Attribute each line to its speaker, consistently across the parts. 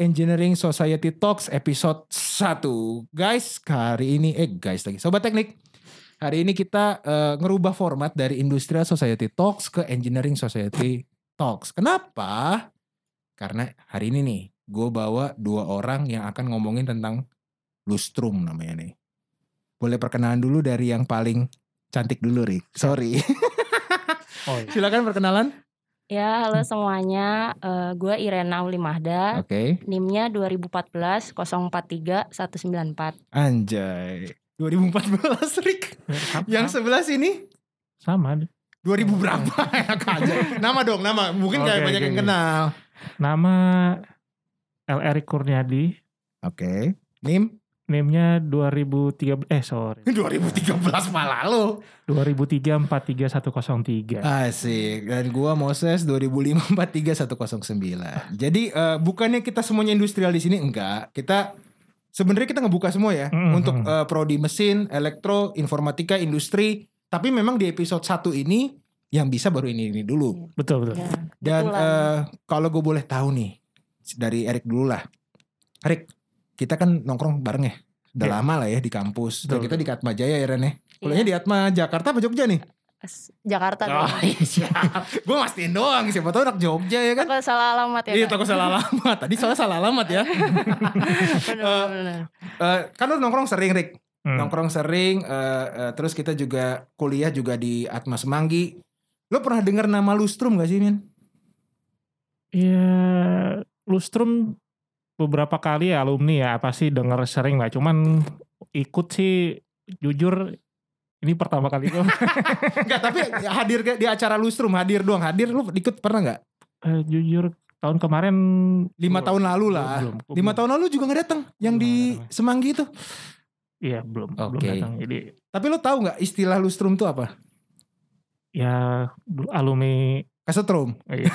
Speaker 1: Engineering Society Talks episode 1. Guys, hari ini eh guys lagi sobat teknik. Hari ini kita eh, ngerubah format dari Industrial Society Talks ke Engineering Society Talks. Kenapa? Karena hari ini nih gue bawa dua orang yang akan ngomongin tentang lustrum namanya nih. Boleh perkenalan dulu dari yang paling cantik dulu, Rik. Sorry.
Speaker 2: Oh, iya.
Speaker 1: Silakan perkenalan.
Speaker 3: Ya, halo
Speaker 1: Hmm.
Speaker 3: semuanya. Eh, gue Irena Ulimahda.
Speaker 1: Oke.
Speaker 3: NIM-nya 2014 043 194.
Speaker 1: Anjay. 2014 Rick.
Speaker 2: Sama,
Speaker 1: Yang sebelah sini
Speaker 2: sama.
Speaker 1: 2000 berapa enak aja. Nama dong, nama. Mungkin kayak
Speaker 2: Oke,
Speaker 1: banyak
Speaker 2: oke,
Speaker 1: yang
Speaker 2: oke.
Speaker 1: kenal.
Speaker 2: Nama LR Kurniadi,
Speaker 1: Oke. Nim
Speaker 2: NIM-nya 2013 eh sorry.
Speaker 1: 2013 malah lo.
Speaker 2: 2003
Speaker 1: Ah.
Speaker 2: 43103.
Speaker 1: Asik. Dan gua Moses 2543109. Jadi eh, bukannya kita semuanya industrial di sini enggak. Kita sebenarnya kita ngebuka semua ya
Speaker 2: Mhm.
Speaker 1: untuk eh, prodi mesin, elektro, informatika, industri. Tapi memang di episode 1 ini yang bisa baru ini ini dulu.
Speaker 2: Betul betul.
Speaker 3: Ya,
Speaker 1: Dan
Speaker 3: Betulan.
Speaker 1: eh, kalau gue boleh tahu nih dari Erik dulu lah. Erik, kita kan nongkrong bareng ya. Udah
Speaker 2: Iya.
Speaker 1: lama lah ya di kampus. Dan
Speaker 2: Betul.
Speaker 1: kita di Atma Jaya ya Ren ya. Kuliahnya di
Speaker 3: Iya.
Speaker 1: Atma Jakarta apa Jogja nih?
Speaker 3: S- iya. Jakarta.
Speaker 1: Oh, iya, siap. gue mastiin doang siapa tahu anak Jogja ya kan.
Speaker 3: Kalau salah alamat ya.
Speaker 1: Iya
Speaker 3: Kak?
Speaker 1: takut salah alamat. Tadi soalnya salah alamat ya.
Speaker 3: Bener,
Speaker 1: Eh,
Speaker 3: bener, bener.
Speaker 1: Eh, kan lu nongkrong sering Rik.
Speaker 2: Hmm.
Speaker 1: Nongkrong sering. eh, eh, terus kita juga kuliah juga di Atma Semanggi. Lu pernah dengar nama Lustrum gak sih Min?
Speaker 2: Iya, Lustrum beberapa kali ya alumni ya pasti denger sering lah. Cuman ikut sih jujur ini pertama kali gue
Speaker 1: Enggak tapi hadir ke- di acara Lustrum hadir doang hadir lu ikut pernah nggak?
Speaker 2: Eh, jujur tahun kemarin
Speaker 1: lima tahun lalu lah.
Speaker 2: Belum, belum.
Speaker 1: Lima tahun lalu juga nggak datang yang
Speaker 2: Belum
Speaker 1: di
Speaker 2: datang ya.
Speaker 1: Semanggi itu.
Speaker 2: Iya belum belum
Speaker 1: Oke.
Speaker 2: datang. Jadi
Speaker 1: Tapi lo tahu nggak istilah lustrum itu apa?
Speaker 2: ya dulu alumni
Speaker 1: Kasetrum.
Speaker 2: iya.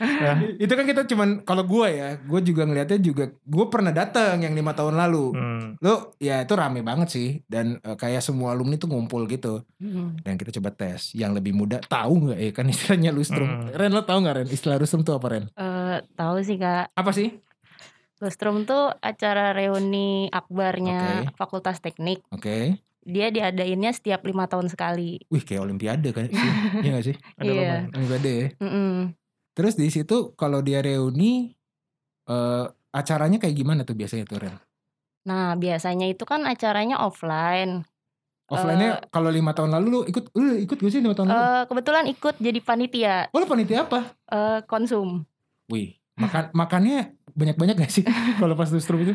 Speaker 2: Nah,
Speaker 1: Itu kan kita cuman kalau gue ya, gue juga ngelihatnya juga gue pernah datang yang lima tahun lalu.
Speaker 2: hmm,
Speaker 1: Lo ya itu rame banget sih dan eh, kayak semua alumni tuh ngumpul gitu.
Speaker 3: Hmm.
Speaker 1: Dan kita coba tes yang lebih muda tahu nggak ya kan istilahnya lustrum.
Speaker 2: Hmm.
Speaker 1: Ren lo tahu nggak Ren istilah lustrum tuh apa Ren?
Speaker 3: Eh, tahu sih kak.
Speaker 1: Apa sih?
Speaker 3: Lustrum tuh acara reuni akbarnya Fakultas Teknik.
Speaker 1: Oke.
Speaker 3: Dia diadainnya setiap lima tahun sekali.
Speaker 1: Wih kayak olimpiade kan? Iya nggak sih?
Speaker 2: ada
Speaker 3: Iya.
Speaker 2: lumayan.
Speaker 1: Olimpiade ya.
Speaker 3: Mm-mm.
Speaker 1: Terus di situ kalau dia reuni eh acaranya kayak gimana tuh biasanya tuh Ren?
Speaker 3: Nah biasanya itu kan acaranya offline.
Speaker 1: Offline-nya kalau lima tahun lalu lu ikut lu ikut gak sih lima tahun lalu?
Speaker 3: Eh, kebetulan ikut jadi panitia
Speaker 1: Oh lu panitia apa?
Speaker 3: eh, konsum.
Speaker 1: Wih, makan makannya banyak-banyak gak sih kalau pas lustrum itu?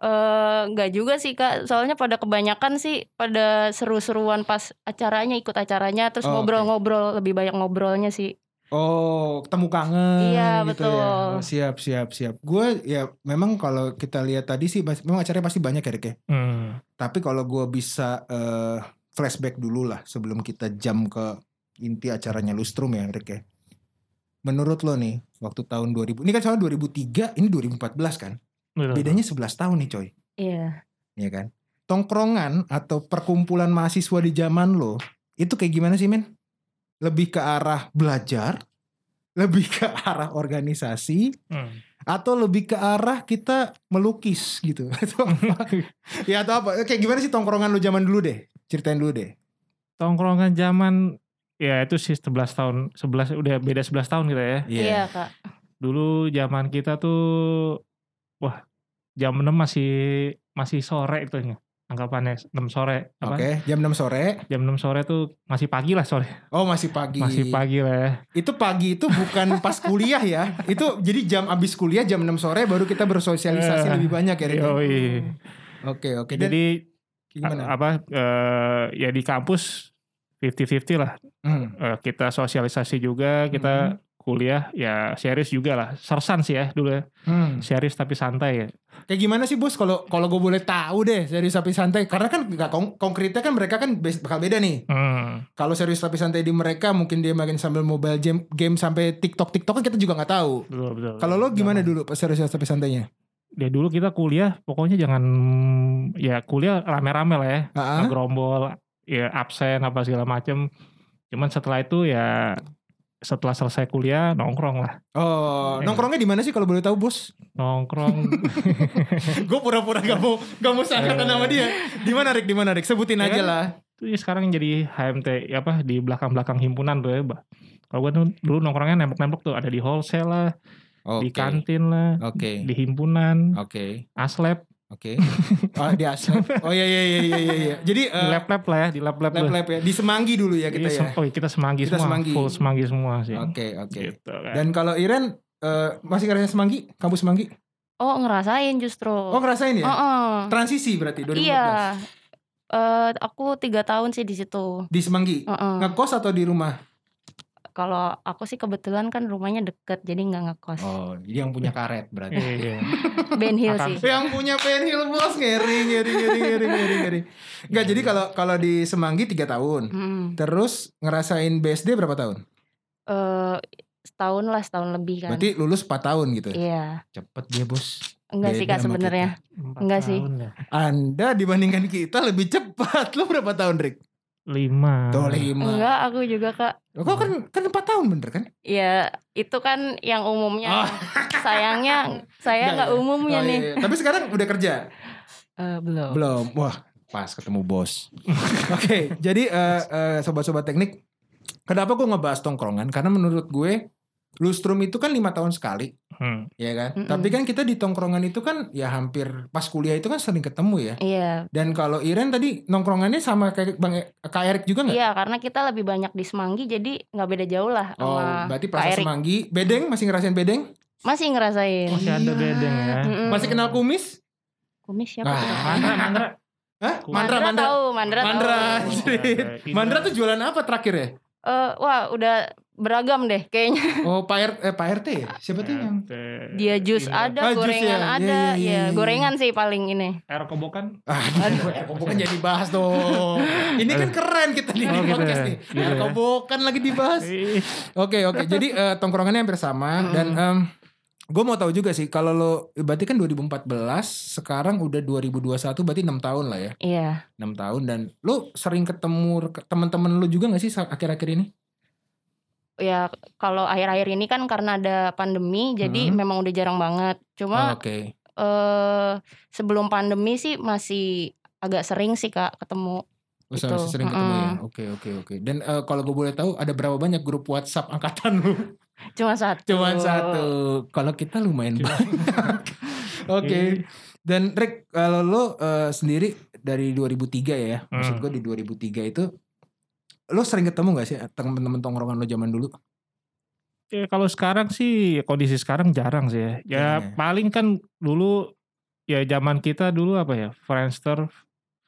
Speaker 3: Eh, nggak juga sih kak, soalnya pada kebanyakan sih pada seru-seruan pas acaranya ikut acaranya, terus
Speaker 1: Oh,
Speaker 3: ngobrol-ngobrol lebih banyak ngobrolnya sih.
Speaker 1: Oh, temu kangen
Speaker 3: Iya,
Speaker 1: gitu
Speaker 3: betul.
Speaker 1: ya. Oh, siap, siap, siap. Gue ya memang kalau kita lihat tadi sih pas- memang acaranya pasti banyak ya Rik ya.
Speaker 2: Hmm,
Speaker 1: Tapi kalau gue bisa eh, flashback dulu lah sebelum kita jam ke inti acaranya Lustrum ya Rick ya. Menurut lo nih waktu tahun 2000, ini kan soalnya 2003, ini 2014 kan.
Speaker 2: betul.
Speaker 1: Bedanya 11 tahun nih coy,
Speaker 3: Iya.
Speaker 1: ya kan. Tongkrongan atau perkumpulan mahasiswa di zaman lo, itu kayak gimana sih men? Lebih ke arah belajar, lebih ke arah organisasi,
Speaker 2: Hmm.
Speaker 1: atau lebih ke arah kita melukis gitu atau apa ya atau apa kayak gimana sih tongkrongan lu zaman dulu deh ceritain dulu deh
Speaker 2: Tongkrongan zaman ya itu sih 11 tahun 11 udah beda 11 tahun kita ya.
Speaker 3: Iya kak.
Speaker 2: Dulu zaman kita tuh wah jam 6 masih masih sore itu ya. Anggapannya 6 sore
Speaker 1: oke
Speaker 2: apa?
Speaker 1: jam 6 sore
Speaker 2: Jam 6 sore tuh masih pagi lah sore.
Speaker 1: oh masih pagi
Speaker 2: Masih pagi lah ya.
Speaker 1: itu pagi itu bukan pas kuliah ya itu jadi jam abis kuliah jam 6 sore baru kita bersosialisasi
Speaker 2: Eh,
Speaker 1: lebih banyak ya Rik? oke
Speaker 2: Yoi.
Speaker 1: oke Dan
Speaker 2: Jadi
Speaker 1: gimana
Speaker 2: A- apa eh, ya di kampus 50-50 lah
Speaker 1: Hmm,
Speaker 2: Eh, kita sosialisasi juga kita kuliah ya serius juga lah sersan sih ya dulu ya
Speaker 1: hmm.
Speaker 2: serius tapi santai ya
Speaker 1: kayak gimana sih bos kalau kalau gue boleh tahu deh serius tapi santai karena kan nggak kong- konkretnya kan mereka kan bes- bakal beda nih
Speaker 2: Hmm,
Speaker 1: kalau serius tapi santai di mereka mungkin dia makin sambil mobile game, game sampai TikTok TikTok kan kita juga nggak tahu.
Speaker 2: betul betul
Speaker 1: Kalau lo gimana
Speaker 2: Jangan-
Speaker 1: dulu pas serius tapi santainya?
Speaker 2: ya dulu kita kuliah pokoknya jangan ya kuliah rame-rame lah ya
Speaker 1: Ah, ah.
Speaker 2: gerombol ya absen apa segala macem cuman setelah itu ya setelah selesai kuliah nongkrong lah
Speaker 1: Oh,
Speaker 2: Iya.
Speaker 1: nongkrongnya di mana sih kalau boleh tahu, Bos?
Speaker 2: nongkrong
Speaker 1: gue pura-pura gak mau gak mau seangkatan sama dia. Eh. Di mana Rik? Di mana Rik? Sebutin
Speaker 2: Ya
Speaker 1: aja
Speaker 2: kan?
Speaker 1: lah.
Speaker 2: itu ya sekarang jadi HMT ya apa di belakang-belakang himpunan tuh ya bah kalau gue tuh dulu nongkrongnya nembok-nembok tuh ada di wholesale lah
Speaker 1: Oke.
Speaker 2: di
Speaker 1: kan-
Speaker 2: kantin lah
Speaker 1: Oke. Ah.
Speaker 2: di himpunan
Speaker 1: Oke.
Speaker 2: aslep
Speaker 1: Oke. Oh, di Aslep. Oh iya iya iya iya iya. Jadi
Speaker 2: di
Speaker 1: eh,
Speaker 2: lab-lab lah ya di lab-lab tuh.
Speaker 1: lab-lab ya. Di Semanggi dulu ya kita
Speaker 2: Iya,
Speaker 1: ya.
Speaker 2: sem- oh, kita semanggi
Speaker 1: Kita
Speaker 2: semua
Speaker 1: semanggi.
Speaker 2: full semanggi semua sih
Speaker 1: Oke, oke.
Speaker 2: gitu kan.
Speaker 1: Dan kalau Iren eh, masih ngerasain Semanggi? Kampus Semanggi?
Speaker 3: Oh ngerasain justru.
Speaker 1: Oh, ngerasain ya?
Speaker 3: Heeh.
Speaker 1: Transisi berarti 2014.
Speaker 3: oh. Iya. Eh, aku tiga tahun sih di situ.
Speaker 1: Di Semanggi.
Speaker 3: Heeh.
Speaker 1: Ngekos atau di rumah?
Speaker 3: Kalau aku sih kebetulan kan rumahnya deket, jadi nggak ngekos.
Speaker 1: Oh, jadi yang punya karet berarti.
Speaker 2: Iya, iya.
Speaker 3: Ben Hill sih.
Speaker 1: yang punya penhil bos ngeri ngeri ngeri ngeri ngeri ngeri. Enggak, jadi kalau kalau di Semanggi 3 tahun.
Speaker 3: Mm.
Speaker 1: Terus ngerasain BSD berapa tahun?
Speaker 3: Eh, setahun lah, setahun lebih kan.
Speaker 1: Berarti lulus 4 tahun gitu.
Speaker 3: Iya.
Speaker 1: Cepet dia, Bos.
Speaker 3: Enggak sih
Speaker 1: Beda
Speaker 3: kak
Speaker 1: sama
Speaker 3: sebenarnya.
Speaker 2: Empat
Speaker 3: Enggak sih.
Speaker 2: tahun ya.
Speaker 1: Anda dibandingkan kita lebih cepat. Lu berapa tahun, Rick?
Speaker 2: lima
Speaker 1: Tuh, lima.
Speaker 3: Enggak, aku juga kak.
Speaker 1: Kok kan kan empat tahun bener kan?
Speaker 3: Ya itu kan yang
Speaker 1: Ah.
Speaker 3: umumnya. Sayangnya saya
Speaker 1: Enggak,
Speaker 3: nggak
Speaker 1: iya.
Speaker 3: umumnya
Speaker 1: Oh, iya,
Speaker 3: nih.
Speaker 1: iya. Tapi sekarang udah kerja?
Speaker 3: Eh, belum.
Speaker 1: Belum. Wah, pas ketemu bos. Oke, jadi eh, eh, sobat-sobat teknik, kenapa gue ngebahas tongkrongan? Karena menurut gue lustrum itu kan lima tahun sekali,
Speaker 2: Hmm.
Speaker 1: ya kan?
Speaker 3: Mm-mm.
Speaker 1: Tapi kan kita di tongkrongan itu kan ya hampir pas kuliah itu kan sering ketemu ya.
Speaker 3: Iya,
Speaker 1: Dan kalau Iren tadi nongkrongannya sama kayak Bang E- Kak Erik juga nggak?
Speaker 3: iya karena kita lebih banyak di Semanggi jadi nggak beda jauh lah
Speaker 1: Oh,
Speaker 3: sama
Speaker 1: berarti
Speaker 3: Kak
Speaker 1: pas
Speaker 3: Erik.
Speaker 1: semanggi, bedeng masih ngerasain bedeng?
Speaker 3: Masih ngerasain.
Speaker 2: masih ada
Speaker 1: Iya.
Speaker 2: bedeng ya
Speaker 3: Mm-mm.
Speaker 1: Masih kenal kumis?
Speaker 3: Kumis siapa?
Speaker 1: Ah,
Speaker 3: tuh?
Speaker 2: Mandra, Mandra.
Speaker 1: Hah?
Speaker 3: Mandra,
Speaker 1: Mandra, Mandra.
Speaker 3: tahu, Mandra,
Speaker 1: Mandra,
Speaker 2: Mandra.
Speaker 3: tahu.
Speaker 1: anjrit.
Speaker 2: Iya.
Speaker 1: Mandra tuh jualan apa terakhir ya?
Speaker 3: Eh, wah, udah beragam deh kayaknya.
Speaker 1: Oh, Pak RT, eh, Pak RT ya? Siapa tuh yang?
Speaker 3: Dia jus ada,
Speaker 1: Ah, jus
Speaker 3: gorengan
Speaker 1: ya. Iya,
Speaker 3: ada,
Speaker 1: iya, iya,
Speaker 3: ya
Speaker 1: iya.
Speaker 3: gorengan sih paling ini.
Speaker 2: air kobokan
Speaker 1: Aduh, air kobokan jadi bahas dong. Ini kan keren kita nih di
Speaker 2: Oh, gitu
Speaker 1: podcast
Speaker 2: ya,
Speaker 1: nih.
Speaker 2: gitu
Speaker 1: Air
Speaker 2: ya.
Speaker 1: kobokan lagi dibahas.
Speaker 2: Ih,
Speaker 1: Oke, oke. Jadi eh, tongkrongannya hampir sama
Speaker 3: Mm-mm.
Speaker 1: dan gue mau tahu juga sih kalau lo berarti kan 2014 sekarang udah 2021 berarti 6 tahun lah ya
Speaker 3: Iya.
Speaker 1: 6 tahun dan lo sering ketemu ke- teman-teman lo juga gak sih sa- akhir-akhir ini
Speaker 3: Ya kalau akhir-akhir ini kan karena ada pandemi jadi
Speaker 1: Mm.
Speaker 3: memang udah jarang banget. Cuma
Speaker 1: Oh, oke
Speaker 3: eh sebelum pandemi sih masih agak sering sih Kak ketemu.
Speaker 1: Oh, sama-
Speaker 3: Gitu.
Speaker 1: sering ketemu ya.
Speaker 3: Mm-mm.
Speaker 1: Oke, oke, oke. Dan eh, kalau gue boleh tahu ada berapa banyak grup WhatsApp angkatan lu?
Speaker 3: Cuma satu.
Speaker 1: Cuman satu. Kalau kita lumayan
Speaker 2: Cuma-
Speaker 1: banyak. oke. Dan Rick, kalau lo eh, sendiri dari 2003 ya, maksud
Speaker 2: Hmm.
Speaker 1: gue di 2003 itu lo sering ketemu gak sih temen-temen tongkrongan lo zaman dulu?
Speaker 2: Ya, kalau sekarang sih kondisi sekarang jarang sih ya. Ya
Speaker 1: Iya.
Speaker 2: paling kan dulu ya zaman kita dulu apa ya Friendster,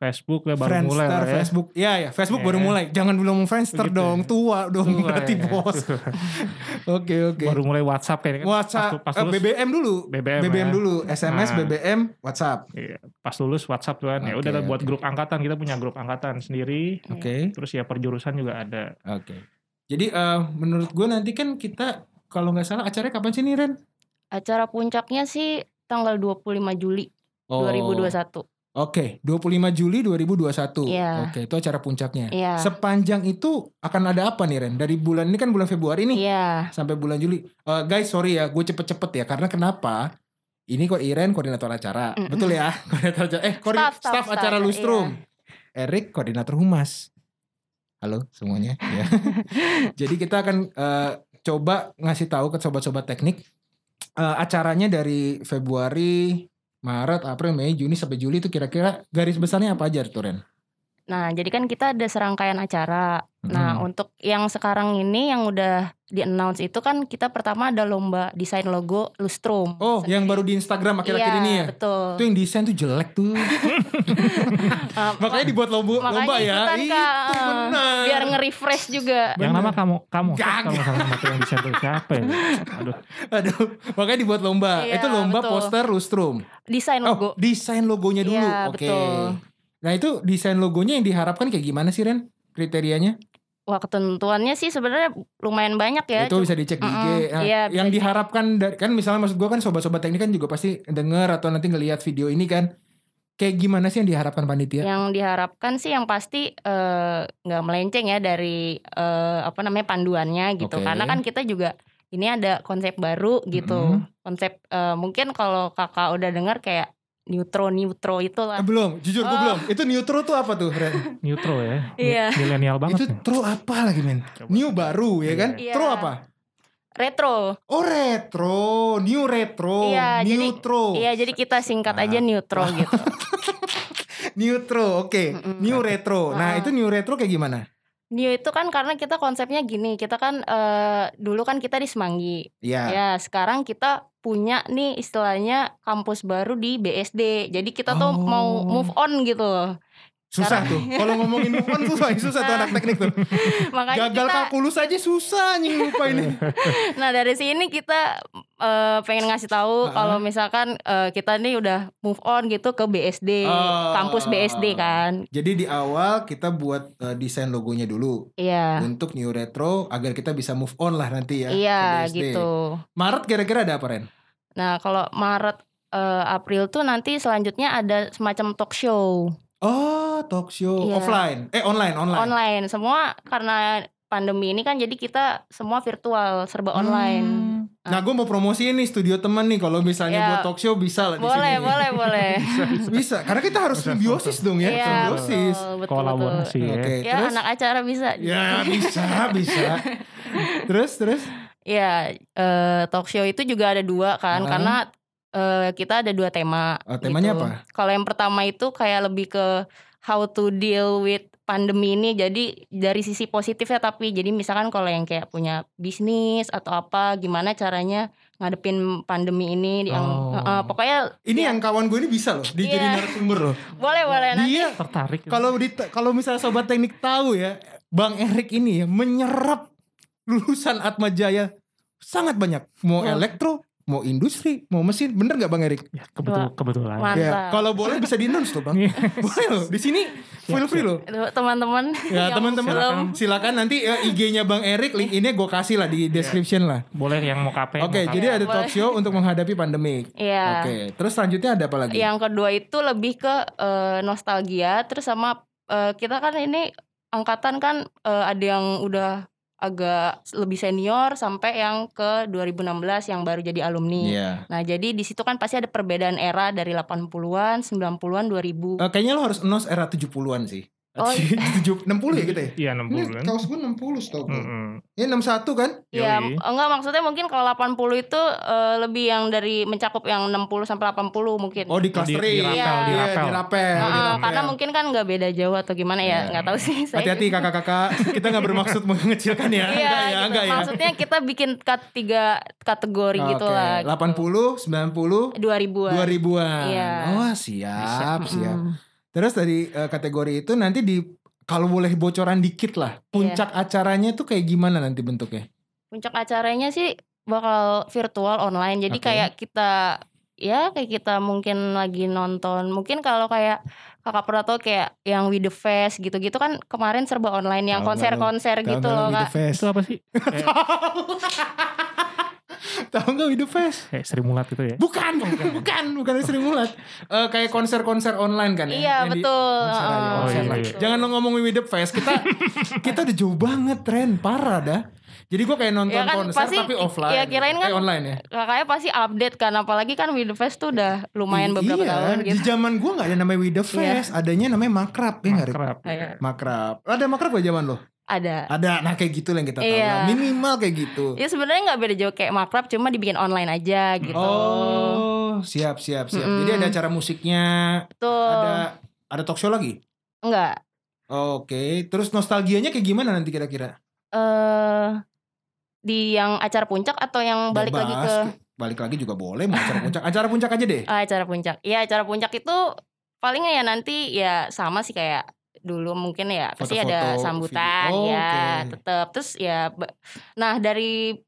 Speaker 2: Facebook ya baru mulai lah ya.
Speaker 1: Facebook. Ya ya, Facebook baru
Speaker 2: Ya.
Speaker 1: mulai. Jangan dulu ngomong Friendster
Speaker 2: Begitu. ya.
Speaker 1: dong, tua dong
Speaker 2: Tua,
Speaker 1: berarti
Speaker 2: ya.
Speaker 1: bos. Oke, oke.
Speaker 2: Baru mulai WhatsApp kayaknya kan.
Speaker 1: WhatsApp,
Speaker 2: pas,
Speaker 1: eh,
Speaker 2: lulus,
Speaker 1: BBM dulu.
Speaker 2: BBM,
Speaker 1: BBM
Speaker 2: ya.
Speaker 1: dulu, SMS,
Speaker 2: Nah.
Speaker 1: BBM, WhatsApp.
Speaker 2: Iya, pas lulus WhatsApp tuh kan. ya
Speaker 1: Oke,
Speaker 2: udah buat
Speaker 1: oke.
Speaker 2: grup angkatan kita punya grup angkatan sendiri.
Speaker 1: Oke.
Speaker 2: Terus ya perjurusan juga ada.
Speaker 1: Oke. Jadi eh, menurut gue nanti kan kita kalau nggak salah acaranya kapan sih nih Ren?
Speaker 3: Acara puncaknya sih tanggal 25 Juli
Speaker 1: Oh.
Speaker 3: 2021.
Speaker 1: Oke, 25 Juli 2021.
Speaker 3: Iya.
Speaker 1: Oke, itu acara puncaknya.
Speaker 3: Iya.
Speaker 1: Sepanjang itu akan ada apa nih Ren? Dari bulan ini kan bulan Februari nih
Speaker 3: Iya.
Speaker 1: sampai bulan Juli. Eh, guys, sorry ya, gue cepet-cepet ya karena kenapa? Ini kok Iren koordinator acara,
Speaker 3: Mm-mm.
Speaker 1: betul ya? Koordinator acara. Eh, koordin-
Speaker 3: Staff, iya.
Speaker 1: staff,
Speaker 3: staff, staff,
Speaker 1: acara
Speaker 3: iya.
Speaker 1: Lustrum. Erik koordinator humas. Halo semuanya. ya. Jadi kita akan eh, coba ngasih tahu ke sobat-sobat teknik eh, acaranya dari Februari, Maret, April, Mei, Juni sampai Juli itu kira-kira garis besarnya apa aja tuh Ren?
Speaker 3: Nah, jadi kan kita ada serangkaian acara. Nah,
Speaker 1: Hmm.
Speaker 3: untuk yang sekarang ini yang udah di-announce itu kan kita pertama ada lomba desain logo Lustrum.
Speaker 1: Oh, yang baru di Instagram akhir-akhir
Speaker 3: Iya,
Speaker 1: ini ya.
Speaker 3: betul.
Speaker 1: Itu yang desain tuh jelek tuh.
Speaker 3: Ah,
Speaker 1: Makanya dibuat lomba,
Speaker 3: Makanya
Speaker 1: lomba ya.
Speaker 3: ikutan, Kak.
Speaker 1: Itu benar.
Speaker 3: biar nge-refresh juga.
Speaker 2: Yang
Speaker 1: Bener.
Speaker 2: nama kamu kamu
Speaker 1: Gak-
Speaker 2: kamu sama sama yang bisa tuh siapa ya? Aduh.
Speaker 1: Aduh, makanya dibuat lomba.
Speaker 3: Iya,
Speaker 1: itu lomba
Speaker 3: betul.
Speaker 1: poster lustrum.
Speaker 3: Desain
Speaker 1: Oh,
Speaker 3: logo.
Speaker 1: desain logonya dulu.
Speaker 3: Iya,
Speaker 1: Oke.
Speaker 3: betul.
Speaker 1: Nah, itu desain logonya yang diharapkan kayak gimana sih, Ren? Kriterianya?
Speaker 3: Wah, ketentuannya sih sebenarnya lumayan banyak ya.
Speaker 1: itu bisa dicek di IG.
Speaker 3: Mm-mm,
Speaker 1: Nah,
Speaker 3: iya, bisa
Speaker 1: yang
Speaker 3: dicek.
Speaker 1: diharapkan dari kan misalnya maksud gua kan sobat-sobat teknik kan juga pasti denger atau nanti ngelihat video ini kan. Kayak gimana sih yang diharapkan panitia?
Speaker 3: Yang diharapkan sih yang pasti eh, nggak melenceng ya dari eh, apa namanya panduannya gitu.
Speaker 1: Oke.
Speaker 3: Karena kan kita juga ini ada konsep baru gitu.
Speaker 1: Mm-mm.
Speaker 3: Konsep eh, mungkin kalau kakak udah dengar kayak neutro neutro
Speaker 1: Eh,
Speaker 3: itulah.
Speaker 1: belum, jujur gue
Speaker 3: Oh.
Speaker 1: belum. Itu neutro tuh apa tuh, Ren?
Speaker 2: Neutro ya. Mi-
Speaker 3: Iya.
Speaker 2: Milenial banget.
Speaker 1: itu
Speaker 2: nih.
Speaker 1: tro apa lagi men?
Speaker 2: Coba.
Speaker 1: New baru ya kan?
Speaker 3: Iya.
Speaker 1: Tro apa?
Speaker 3: Retro.
Speaker 1: Oh retro, new retro,
Speaker 3: Iya, jadi-
Speaker 1: neutro,
Speaker 3: Iya, jadi kita singkat aja
Speaker 1: Oh, Ah.
Speaker 3: neutro gitu.
Speaker 1: neutro, oke,
Speaker 3: Mm-mm.
Speaker 1: new retro. Nah
Speaker 3: Ah.
Speaker 1: itu new retro kayak gimana?
Speaker 3: New itu kan karena kita konsepnya gini, kita kan eh, dulu kan kita di Semanggi.
Speaker 1: Iya.
Speaker 3: Ya, sekarang kita punya nih istilahnya kampus baru di BSD. Jadi kita tuh
Speaker 1: Oh.
Speaker 3: mau move on gitu loh.
Speaker 1: Susah tuh. Kalau ngomongin move on susah, susah tuh
Speaker 3: Nah.
Speaker 1: anak teknik tuh.
Speaker 3: Makanya
Speaker 1: Gagal
Speaker 3: kita
Speaker 1: kalkulus aja susah anjing lupa ini.
Speaker 3: nah dari sini kita eh, pengen ngasih
Speaker 1: Ah.
Speaker 3: tahu kalau misalkan eh, kita nih udah move on gitu ke BSD,
Speaker 1: Oh.
Speaker 3: kampus BSD kan.
Speaker 1: Jadi di awal kita buat eh, desain logonya dulu
Speaker 3: Iya.
Speaker 1: untuk new retro agar kita bisa move on lah nanti ya. ke
Speaker 3: Iya
Speaker 1: BSD.
Speaker 3: gitu.
Speaker 1: Maret kira-kira ada apa Ren?
Speaker 3: Nah, kalau Maret eh, April tuh nanti selanjutnya ada semacam talk show.
Speaker 1: Oh, talk show
Speaker 3: Iya.
Speaker 1: offline. Eh online, online.
Speaker 3: online. Semua karena pandemi ini kan jadi kita semua virtual serba online.
Speaker 1: Hmm.
Speaker 3: Ah.
Speaker 1: Nah, gue mau promosi nih studio temen nih. Kalau misalnya
Speaker 3: Ya.
Speaker 1: buat talk show bisa lah di sini.
Speaker 3: Boleh, boleh, boleh.
Speaker 1: Bisa, karena kita harus
Speaker 2: Bisa,
Speaker 1: simbiosis dong ya.
Speaker 3: Iya,
Speaker 1: simbiosis.
Speaker 3: betul, betul,
Speaker 1: Oke,
Speaker 2: Kolaborasi ya.
Speaker 3: betul. Ya,
Speaker 1: terus.
Speaker 3: anak acara bisa.
Speaker 1: Iya. Ya, bisa, bisa. terus, terus.
Speaker 3: Ya, eh, talk show itu juga ada dua kan
Speaker 1: Ah.
Speaker 3: karena eh, kita ada dua tema.
Speaker 1: Oh, temanya
Speaker 3: gitu.
Speaker 1: apa?
Speaker 3: Kalau yang pertama itu kayak lebih ke how to deal with pandemi ini jadi dari sisi positifnya tapi jadi misalkan kalau yang kayak punya bisnis atau apa gimana caranya ngadepin pandemi ini yang
Speaker 2: Oh.
Speaker 3: eh, eh, pokoknya
Speaker 1: Ini
Speaker 3: Iya.
Speaker 1: yang kawan gue ini bisa loh, dia jadi
Speaker 3: Iya.
Speaker 1: narasumber loh.
Speaker 3: boleh boleh nanti
Speaker 1: Dia
Speaker 2: Tertarik.
Speaker 1: kalau di kalau misalnya sobat teknik tahu ya, Bang Erik ini ya menyerap lulusan Atma Jaya sangat banyak. Mau
Speaker 3: Wah.
Speaker 1: elektro, mau industri, mau mesin. Bener nggak Bang Erik?
Speaker 2: ya, kebetul kebetulan.
Speaker 3: Wah.
Speaker 1: Ya,
Speaker 3: Mantap.
Speaker 1: kalau boleh bisa di announce tuh, Bang.
Speaker 2: Iya.
Speaker 1: boleh loh. Di sini feel free loh.
Speaker 3: Aduh, teman-teman
Speaker 1: Ya
Speaker 3: yang
Speaker 1: teman-teman
Speaker 3: belum
Speaker 1: silakan. silakan nanti eh, IG-nya Bang Erik, link ini gue kasih lah di description lah.
Speaker 2: Boleh yang mau kafe.
Speaker 1: Oke,
Speaker 2: mau
Speaker 1: jadi
Speaker 3: Iya,
Speaker 1: ada
Speaker 3: boleh.
Speaker 1: talk show untuk menghadapi pandemi.
Speaker 3: Iya.
Speaker 1: Oke, terus selanjutnya ada apa lagi?
Speaker 3: yang kedua itu lebih ke eh, nostalgia terus sama eh, kita kan ini angkatan kan eh, ada yang udah agak lebih senior sampai yang ke 2016 yang baru jadi alumni.
Speaker 1: Iya.
Speaker 3: Nah, jadi di situ kan pasti ada perbedaan era dari 80-an, 90-an, 2000.
Speaker 1: Eh, kayaknya lo harus announce era 70-an sih.
Speaker 3: Oh, iya.
Speaker 1: 70, 60 ya kita ya?
Speaker 2: Iya, enam
Speaker 1: Ini
Speaker 2: bulan.
Speaker 1: kaos gue 60 setau gue.
Speaker 2: Mm-mm.
Speaker 1: Ini 61 kan?
Speaker 3: Ya,
Speaker 2: Yoi.
Speaker 3: enggak maksudnya mungkin kalau 80 itu eh, lebih yang dari mencakup yang 60 sampai 80 mungkin.
Speaker 1: Oh, di
Speaker 2: Di,
Speaker 1: clustering.
Speaker 2: di rapel,
Speaker 3: Iya.
Speaker 2: di
Speaker 1: Iya,
Speaker 2: rapel.
Speaker 1: di rapel.
Speaker 3: Nah,
Speaker 1: di
Speaker 3: eh,
Speaker 1: rapel.
Speaker 3: karena mungkin kan nggak beda jauh atau gimana
Speaker 1: Iya.
Speaker 3: ya, nggak tahu sih saya.
Speaker 1: Hati-hati kakak-kakak, kita nggak bermaksud mengecilkan ya.
Speaker 3: Iya,
Speaker 1: enggak ya,
Speaker 3: gitu.
Speaker 1: enggak ya.
Speaker 3: Maksudnya kita bikin kat tiga kategori
Speaker 1: Oke,
Speaker 3: gitu lah.
Speaker 1: 80, 90,
Speaker 3: 2000-an.
Speaker 1: 2000-an.
Speaker 3: Iya.
Speaker 1: Oh, siap,
Speaker 3: Mm-mm.
Speaker 1: siap. Terus dari eh, kategori itu nanti di kalau boleh bocoran dikit
Speaker 3: Iya.
Speaker 1: lah, puncak acaranya tuh kayak gimana nanti bentuknya?
Speaker 3: Puncak acaranya sih bakal virtual online. Jadi
Speaker 1: Oke.
Speaker 3: kayak kita ya kayak kita mungkin lagi nonton. Mungkin kalau kayak Kakak pernah tau kayak yang With The Fest gitu-gitu kan kemarin serba online
Speaker 1: Tahu nggak
Speaker 3: yang
Speaker 1: lo?
Speaker 3: konser-konser gitu
Speaker 1: nggak lo
Speaker 3: loh,
Speaker 1: With the
Speaker 3: Kak.
Speaker 1: Fest?
Speaker 2: Itu apa sih? Eh,
Speaker 1: Tahu nggak With the Fest?
Speaker 2: kayak Sri Mulat gitu ya.
Speaker 1: Bukan, bukan, bukan, bukan Sri Mulat. Eh, kayak konser-konser online kan ya?
Speaker 3: Iya,
Speaker 1: Yang di-
Speaker 3: betul.
Speaker 1: konser
Speaker 3: Oh,
Speaker 1: aja,
Speaker 3: Heeh, gitu.
Speaker 1: konser
Speaker 2: iya,
Speaker 1: lah.
Speaker 2: iya.
Speaker 1: Jangan lo ngomongin With the Fest, kita kita udah jauh banget tren, parah dah. Jadi gue kayak nonton
Speaker 3: Ya kan,
Speaker 1: konser
Speaker 3: pasti-
Speaker 1: tapi offline.
Speaker 3: ya kirain
Speaker 1: eh,
Speaker 3: kan
Speaker 1: online ya.
Speaker 3: Kakaknya pasti update kan apalagi kan With The Fest tuh udah
Speaker 1: I-
Speaker 3: lumayan beberapa
Speaker 1: iya,
Speaker 3: tahun
Speaker 1: Di
Speaker 3: gitu. Iya.
Speaker 1: zaman gue nggak ada namanya With the Fest, adanya namanya makrab ya nggak? Rik?
Speaker 2: Makrab.
Speaker 3: Kayak
Speaker 1: Makrab. Ada makrab gak zaman lo?
Speaker 3: Ada.
Speaker 1: Ada. Nah kayak gitu lah yang kita tahu.
Speaker 3: Iya.
Speaker 1: lah. Minimal kayak gitu.
Speaker 3: Ya sebenarnya nggak beda jauh kayak makrab, cuma dibikin online aja gitu.
Speaker 1: Oh, siap siap siap.
Speaker 3: Mm-mm.
Speaker 1: Jadi ada acara musiknya, ada
Speaker 3: tuh
Speaker 1: ada talk show lagi.
Speaker 3: nggak?
Speaker 1: Oke, terus nostalgianya kayak gimana nanti kira-kira?
Speaker 3: Eh di yang acara puncak atau yang Oh, balik lagi ke
Speaker 1: Bebas, balik lagi juga boleh mau acara puncak. Acara puncak aja deh.
Speaker 3: Ah, acara puncak? Iya acara puncak itu palingnya ya nanti ya sama sih kayak dulu mungkin ya pasti ada
Speaker 1: Foto-foto,
Speaker 3: sambutan
Speaker 1: video. Oh,
Speaker 3: ya
Speaker 1: oke.
Speaker 3: tetap terus ya ba- nah dari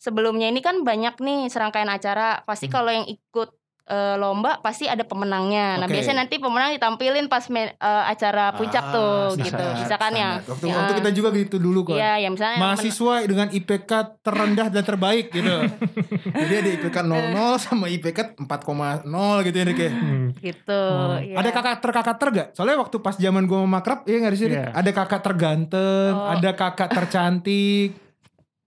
Speaker 3: sebelumnya ini kan banyak nih serangkaian acara pasti
Speaker 1: Hmm.
Speaker 3: kalau yang ikut eh, lomba pasti ada pemenangnya. Nah,
Speaker 1: Oke.
Speaker 3: biasanya nanti pemenang ditampilin pas me- eh, acara puncak
Speaker 1: Ah,
Speaker 3: tuh
Speaker 1: standar,
Speaker 3: gitu. Misalkan yang
Speaker 1: standar. waktu,
Speaker 3: ya.
Speaker 1: waktu kita juga gitu dulu kok.
Speaker 3: Iya, ya misalnya yang pemen-
Speaker 1: Mahasiswa dengan IPK terendah dan terbaik gitu. Jadi ada IPK 00 sama IPK 4,0 gitu ya Rik ya.
Speaker 2: Hmm.
Speaker 3: gitu.
Speaker 2: Oh.
Speaker 3: ya.
Speaker 1: Ada kakak terkakak terga? Soalnya waktu pas zaman gua sama makrab, iya gak sih? Rik?
Speaker 2: Iya.
Speaker 1: Ada kakak terganteng,
Speaker 3: Oh.
Speaker 1: ada kakak tercantik.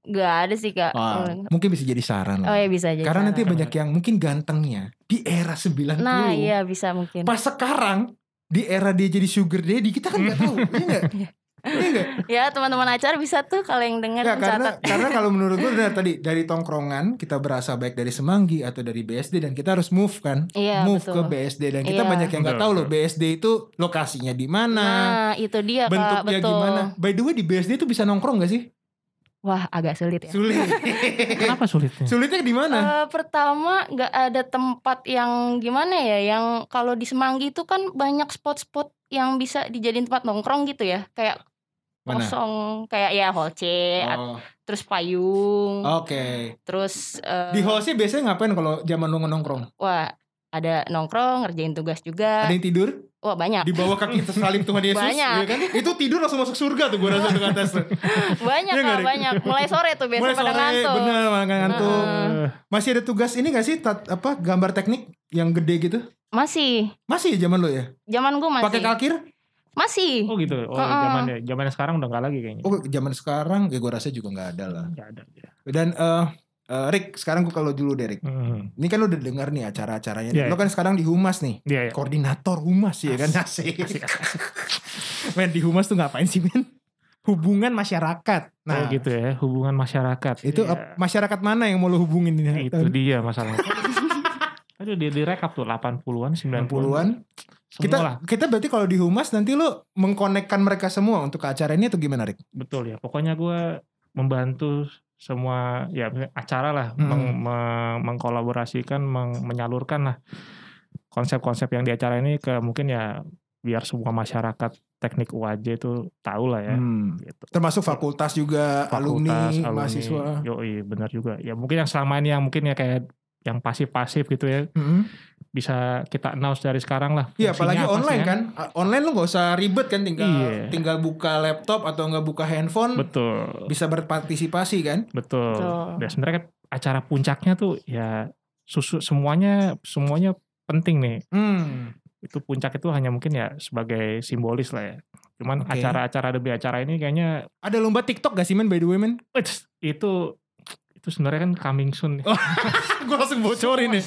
Speaker 3: Gak ada sih, Kak. Hmm.
Speaker 1: Wah, mungkin bisa jadi saran
Speaker 3: Oh
Speaker 1: lah.
Speaker 3: ya bisa aja.
Speaker 1: Karena nanti
Speaker 3: saran.
Speaker 1: banyak yang mungkin gantengnya di era 90.
Speaker 3: Nah, iya bisa mungkin.
Speaker 1: Pas sekarang di era dia jadi sugar daddy kita kan nggak tahu, iya nggak? Iya nggak?
Speaker 3: Ya, teman-teman acara bisa tuh kalau yang dengar
Speaker 1: Nggak, Ya, karena
Speaker 3: catat.
Speaker 1: karena kalau menurut gue benar tadi dari tongkrongan kita berasa baik dari Semanggi atau dari BSD dan kita harus move kan,
Speaker 3: Iya,
Speaker 1: move
Speaker 3: betul.
Speaker 1: ke BSD dan kita
Speaker 3: Iya.
Speaker 1: banyak yang nggak
Speaker 2: Betul,
Speaker 1: tahu loh BSD itu lokasinya di mana,
Speaker 3: Nah, itu dia, Kak.
Speaker 1: bentuknya
Speaker 3: Betul.
Speaker 1: gimana. By the way di BSD itu bisa nongkrong gak sih?
Speaker 3: Wah, agak sulit ya.
Speaker 1: Sulit.
Speaker 2: Kenapa sulitnya?
Speaker 1: Sulitnya di mana?
Speaker 3: Eh, pertama nggak ada tempat yang gimana ya yang kalau di Semanggi itu kan banyak spot-spot yang bisa dijadiin tempat nongkrong gitu ya kayak
Speaker 1: mana?
Speaker 3: kosong kayak oh, ya holce at-
Speaker 1: Oh,
Speaker 3: terus payung
Speaker 1: Oke.
Speaker 3: terus eh,
Speaker 1: Di hostnya biasanya ngapain kalau zaman lu nongkrong?
Speaker 3: wah ada nongkrong ngerjain tugas juga
Speaker 1: Ada yang tidur?
Speaker 3: wah banyak
Speaker 1: di bawah kaki tersalib Tuhan Yesus
Speaker 3: Ya. Banyak.
Speaker 1: ya kan? itu tidur langsung masuk surga tuh gue rasa tuh ke atas tuh.
Speaker 3: banyak
Speaker 1: Iya nggak,
Speaker 3: Kak,
Speaker 1: Dik?
Speaker 3: banyak mulai sore tuh biasa
Speaker 1: mulai
Speaker 3: pada
Speaker 1: sore
Speaker 3: ngantuk
Speaker 1: bener malah ngantuk
Speaker 3: Heeh.
Speaker 2: Eh,
Speaker 1: masih ada tugas ini gak sih tat- apa gambar teknik yang gede gitu
Speaker 3: masih
Speaker 1: masih ya zaman lo ya
Speaker 3: zaman gue masih
Speaker 1: pakai kalkir
Speaker 3: masih
Speaker 2: oh gitu. Oh,
Speaker 3: Heeh.
Speaker 2: zamannya zamannya sekarang udah nggak lagi kayaknya.
Speaker 1: oh zaman sekarang ya gue rasa juga nggak ada lah
Speaker 2: Nggak ada. dia.
Speaker 1: dan eh eh, Rick sekarang gue kalau dulu deh Rick
Speaker 2: Hmm.
Speaker 1: ini kan lo udah dengar nih acara-acaranya
Speaker 2: Iya,
Speaker 1: lo kan sekarang di humas nih
Speaker 2: Iya, iya.
Speaker 1: koordinator humas ya kan asik men di humas tuh ngapain sih men hubungan masyarakat nah
Speaker 2: oh gitu ya, hubungan masyarakat.
Speaker 1: Itu
Speaker 2: Iya.
Speaker 1: ap- masyarakat mana yang mau lo hubungin
Speaker 2: Nah,
Speaker 1: ini?
Speaker 2: itu dia masalahnya. Aduh, dia direkap tuh 80-an, 90-an.
Speaker 1: 90-an. Kita
Speaker 2: Kita
Speaker 1: kita berarti kalau di humas nanti lo mengkonekkan mereka semua untuk ke acara ini atau gimana, Rik?
Speaker 2: betul ya. Pokoknya gue membantu semua ya acara lah
Speaker 1: Hmm.
Speaker 2: meng- me- mengkolaborasikan, meng- menyalurkan lah konsep-konsep yang di acara ini ke mungkin ya biar semua masyarakat teknik UAJ itu tahu lah ya.
Speaker 1: Hmm.
Speaker 2: Gitu.
Speaker 1: Termasuk fakultas juga, alumni, mahasiswa.
Speaker 2: Yoi, benar juga. Ya mungkin yang selama ini yang mungkin ya kayak yang pasif-pasif gitu ya
Speaker 1: Mm-mm.
Speaker 2: bisa kita announce dari sekarang lah.
Speaker 1: Iya,
Speaker 2: Fungsinya
Speaker 1: apalagi
Speaker 2: apa sih
Speaker 1: online
Speaker 2: ya?
Speaker 1: kan. A- Online lo nggak usah ribet kan, tinggal
Speaker 2: Iya.
Speaker 1: tinggal buka laptop atau nggak buka handphone,
Speaker 2: Betul,
Speaker 1: bisa berpartisipasi kan.
Speaker 2: betul.
Speaker 3: Betul.
Speaker 2: Dan sebenarnya kan acara puncaknya tuh ya susu semuanya semuanya penting nih.
Speaker 1: Hmm.
Speaker 2: Itu puncak itu hanya mungkin ya sebagai simbolis lah ya. Cuman
Speaker 1: Oke.
Speaker 2: acara-acara demi acara ini kayaknya
Speaker 1: Ada lomba TikTok gak sih men by the way men?
Speaker 2: "Eits, itu itu sebenarnya kan coming soon.
Speaker 1: Oh, gue
Speaker 2: nih.
Speaker 1: langsung bocorin nih.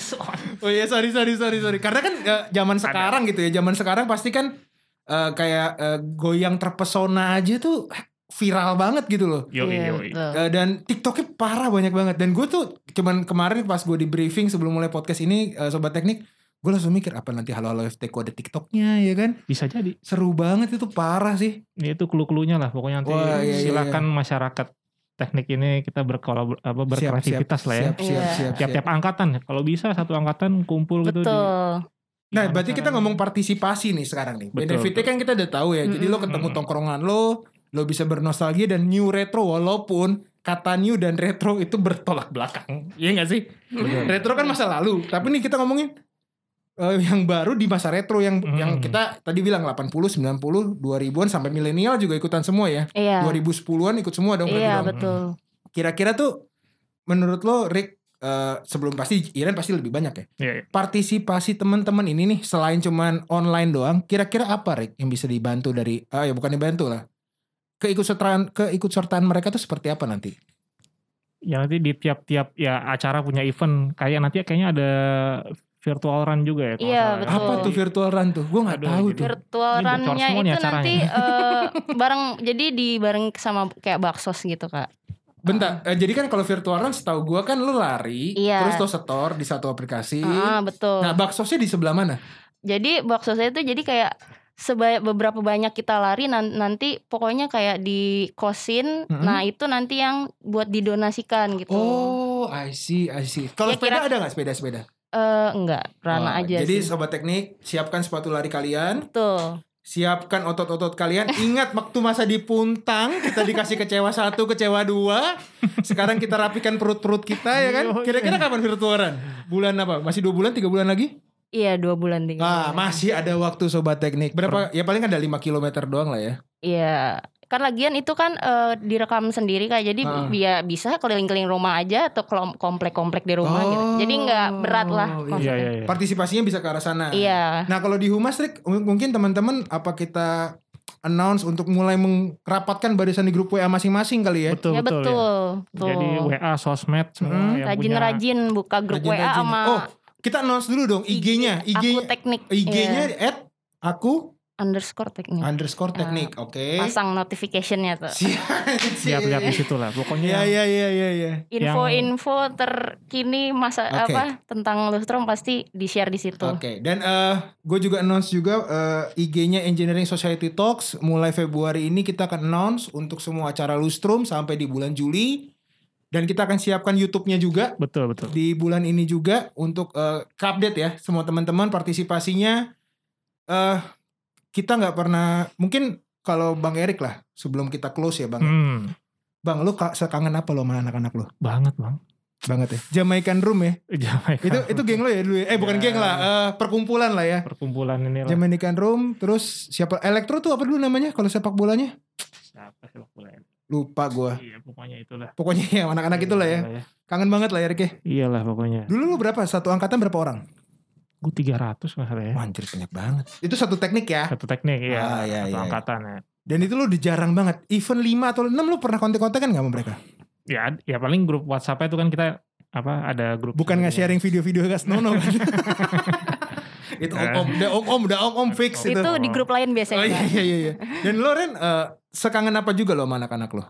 Speaker 1: Oh iya sorry sorry sorry sorry. Karena kan eh, zaman sekarang gitu ya, zaman sekarang pasti kan eh, kayak eh, goyang terpesona aja tuh viral banget gitu loh.
Speaker 2: Yoi, Kan
Speaker 3: Iya,
Speaker 2: yoi.
Speaker 3: betul.
Speaker 1: Eh, dan TikToknya parah banyak banget. Dan gue tuh cuman kemarin pas gue di briefing sebelum mulai podcast ini eh, sobat teknik, gue langsung mikir apa nanti halo halo FT ada TikToknya ya kan?
Speaker 2: Bisa jadi.
Speaker 1: Seru banget itu parah sih.
Speaker 2: Ini itu clue-cluenya lah pokoknya nanti
Speaker 1: Wah, iya, iya,
Speaker 2: silakan masyarakat teknik ini kita berkolabor
Speaker 1: Siap,
Speaker 2: apa
Speaker 1: siap,
Speaker 2: berkreativitas lah ya.
Speaker 1: Siap siap
Speaker 3: Iya.
Speaker 1: siap. siap.
Speaker 2: Tiap-tiap angkatan kalau bisa satu angkatan kumpul gitu di-
Speaker 3: betul
Speaker 1: Nah,
Speaker 2: Gimana
Speaker 1: berarti kita
Speaker 2: caranya?
Speaker 1: ngomong partisipasi nih sekarang nih.
Speaker 2: Betul,
Speaker 1: Benefitnya
Speaker 2: betul.
Speaker 1: kan kita udah tahu ya. Jadi lo
Speaker 3: Mm-mm.
Speaker 1: ketemu
Speaker 2: Mm-mm.
Speaker 1: tongkrongan lo, lo bisa bernostalgia dan new retro walaupun kata new dan retro itu bertolak belakang. Iya gak sih?
Speaker 2: Betul.
Speaker 1: Retro kan masa lalu, tapi nih kita ngomongin eh, yang baru di masa retro yang
Speaker 2: Mm.
Speaker 1: yang kita tadi bilang 80, 90, 2000-an sampai milenial juga ikutan semua ya.
Speaker 3: iya
Speaker 1: 2010-an ikut semua dong berarti
Speaker 3: iya
Speaker 1: dong.
Speaker 3: betul
Speaker 1: Kira-kira tuh menurut lo Rick eh, sebelum pasti Iren pasti lebih banyak ya
Speaker 2: Iya, iya.
Speaker 1: partisipasi teman-teman ini nih selain cuman online doang, kira-kira apa Rick yang bisa dibantu dari ah ya bukan dibantu lah. Keikutsertaan keikutsertaan mereka tuh seperti apa nanti?
Speaker 2: ya nanti di tiap-tiap ya acara punya event kayak nanti kayaknya ada virtual run juga ya kalau
Speaker 3: Iya,
Speaker 2: nggak salah.
Speaker 3: betul.
Speaker 1: Apa tuh virtual run tuh? Gua nggak
Speaker 2: Aduh,
Speaker 1: tahu
Speaker 2: jadi
Speaker 1: tuh.
Speaker 3: virtual
Speaker 2: Ini bocor
Speaker 3: runnya
Speaker 2: semua nih
Speaker 3: itu
Speaker 2: acaranya.
Speaker 3: nanti eh, bareng jadi di bareng sama kayak baksos gitu kak
Speaker 1: Bentar, eh, jadi kan kalau virtual run setahu gua kan lu lari,
Speaker 3: Iya.
Speaker 1: terus lo setor di satu aplikasi.
Speaker 3: ah betul
Speaker 1: Nah, baksosnya di sebelah mana?
Speaker 3: jadi baksosnya itu jadi kayak sebanyak beberapa banyak kita lari nan- nanti pokoknya kayak di kosin
Speaker 1: Mm-mm.
Speaker 3: nah itu nanti yang buat didonasikan gitu
Speaker 1: Oh, I see, I see. Kalau
Speaker 3: Ya,
Speaker 1: sepeda
Speaker 3: kira-
Speaker 1: ada nggak sepeda-sepeda?
Speaker 3: Eh, enggak
Speaker 1: Wah,
Speaker 3: rana aja
Speaker 1: Jadi
Speaker 3: sih
Speaker 1: sobat teknik, siapkan sepatu lari kalian,
Speaker 3: betul
Speaker 1: Siapkan otot-otot kalian. Ingat waktu masa di puntang kita dikasih kecewa satu, kecewa dua. Sekarang kita rapikan perut-perut kita ya kan.
Speaker 2: Yoi.
Speaker 1: Kira-kira kapan virtualan? Bulan apa? Masih dua bulan, tiga bulan lagi?
Speaker 3: Iya dua bulan tinggal.
Speaker 1: Ah,
Speaker 2: Nah,
Speaker 1: masih ada waktu sobat teknik. Berapa? Ya paling ada 5 km doang lah ya.
Speaker 3: Iya. Kan lagian itu kan eh, direkam sendiri kayak jadi
Speaker 1: Ah.
Speaker 3: biar bisa keliling-keliling rumah aja atau kelom- komplek-komplek di rumah gitu. Jadi nggak berat lah.
Speaker 1: Oh,
Speaker 2: Iya,
Speaker 3: maksudnya.
Speaker 2: iya, iya.
Speaker 1: Partisipasinya bisa ke arah sana.
Speaker 3: Iya.
Speaker 1: Nah kalau di Humas Rick, m- mungkin teman-teman apa kita announce untuk mulai merapatkan barisan di grup WA masing-masing kali ya.
Speaker 2: Betul,
Speaker 3: ya
Speaker 2: betul.
Speaker 3: betul.
Speaker 2: ya.
Speaker 3: Tuh.
Speaker 2: Jadi WA,
Speaker 1: Hmm.
Speaker 2: sosmed semua yang punya.
Speaker 3: Rajin-rajin buka grup
Speaker 1: Rajin-rajin.
Speaker 3: WA sama
Speaker 1: Oh, kita announce dulu dong IG-nya.
Speaker 3: aku
Speaker 1: IG-nya
Speaker 3: teknik.
Speaker 1: IG-nya
Speaker 3: Iya.
Speaker 1: at aku
Speaker 3: underscore teknik.
Speaker 1: underscore teknik. Oke.
Speaker 3: Pasang notificationnya tuh.
Speaker 1: Siap.
Speaker 2: Lihat-lihat di situ lah. Pokoknya
Speaker 1: Iya, iya, iya, iya, iya.
Speaker 3: Info-info terkini masa
Speaker 1: Oke.
Speaker 3: apa tentang lustrum pasti di-share di situ.
Speaker 1: Oke, dan eh gue juga announce juga eh, IG-nya Engineering Society Talks mulai Februari ini kita akan announce untuk semua acara Lustrum sampai di bulan Juli dan kita akan siapkan YouTube-nya juga
Speaker 2: betul betul.
Speaker 1: di bulan ini juga untuk eh, ke update ya semua teman-teman partisipasinya eh kita nggak pernah mungkin kalau Bang Erik lah sebelum kita close ya Bang.
Speaker 2: Hmm,
Speaker 1: Bang lu ka- sekangen apa lo sama anak-anak lo?
Speaker 2: banget bang. Iya,
Speaker 1: Banget ya. Jamaican Room ya.
Speaker 2: Jamaica.
Speaker 1: Itu itu geng lo ya dulu ya. Eh bukan
Speaker 2: Ya. Iya.
Speaker 1: geng lah, eh, perkumpulan lah ya.
Speaker 2: perkumpulan ini lah.
Speaker 1: Jamaican Room terus siapa Elektro tuh apa dulu namanya kalau sepak bolanya?
Speaker 2: Siapa sepak bola ini?
Speaker 1: Lupa gua.
Speaker 2: Iya pokoknya itulah.
Speaker 1: Pokoknya ya anak-anak itulah
Speaker 2: Iya.
Speaker 1: ya. Kangen banget lah Erik ya.
Speaker 2: Iyalah pokoknya.
Speaker 1: Dulu lu berapa? Satu angkatan berapa orang?
Speaker 2: Gue 300 nggak salah ya.
Speaker 1: Wah, anjir banyak banget. Itu satu teknik ya.
Speaker 2: Satu teknik ya.
Speaker 1: Ah, iya,
Speaker 2: satu
Speaker 1: iya.
Speaker 2: angkatan ya.
Speaker 1: Dan itu lu udah jarang banget. Event 5 atau 6 lu pernah kontak-kontakan gak sama mereka?
Speaker 2: Ya ad- ya paling grup WhatsApp itu kan kita apa ada grup.
Speaker 1: Bukan
Speaker 2: sendiri.
Speaker 1: nge-sharing video-video gas nono kan? itu om-om, udah om-om, udah om-om fix itu.
Speaker 3: Itu di grup lain
Speaker 1: Oh
Speaker 3: biasanya.
Speaker 1: iya iya iya. iya. Dan lo Ren, eh, sekangen apa juga lo sama anak-anak lo?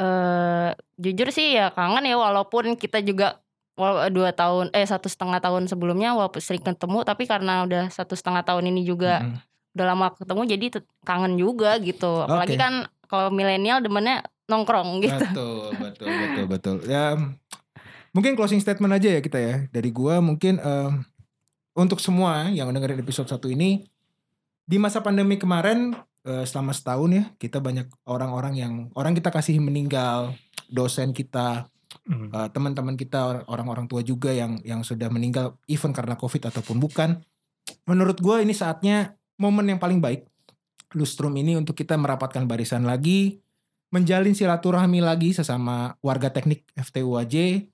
Speaker 3: eh jujur sih ya kangen ya walaupun kita juga wal- dua tahun eh satu setengah tahun sebelumnya walaupun sering ketemu tapi karena udah satu setengah tahun ini juga
Speaker 1: Mm-mm.
Speaker 3: udah lama ketemu jadi tet- kangen juga gitu apalagi
Speaker 1: Oke.
Speaker 3: kan kalau milenial demennya nongkrong gitu
Speaker 1: Betul, betul, betul, betul. Ya, mungkin closing statement aja ya kita ya. Dari gua mungkin em, untuk semua yang dengerin episode satu ini di masa pandemi kemarin eh, selama setahun ya kita banyak orang-orang yang orang kita kasih meninggal, dosen kita,
Speaker 2: Hmm.
Speaker 1: eh, teman-teman kita orang-orang tua juga yang yang sudah meninggal even karena covid ataupun bukan. Menurut gua ini saatnya momen yang paling baik lustrum ini untuk kita merapatkan barisan lagi, menjalin silaturahmi lagi sesama warga teknik FTUAJ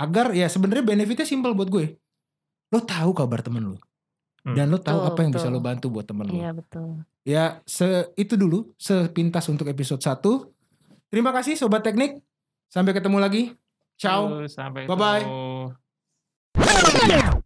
Speaker 1: agar ya sebenarnya benefitnya simpel buat gue. Lo tahu kabar temen lo.
Speaker 2: Hmm.
Speaker 1: Dan lo tahu
Speaker 3: Betul,
Speaker 1: apa yang bisa
Speaker 3: betul.
Speaker 1: lo bantu buat temen lo.
Speaker 3: iya betul
Speaker 1: Ya, se itu dulu sepintas untuk episode 1. Terima kasih sobat teknik. Sampai ketemu lagi. Ciao.
Speaker 2: Sampai
Speaker 1: Bye-bye.
Speaker 2: ketemu.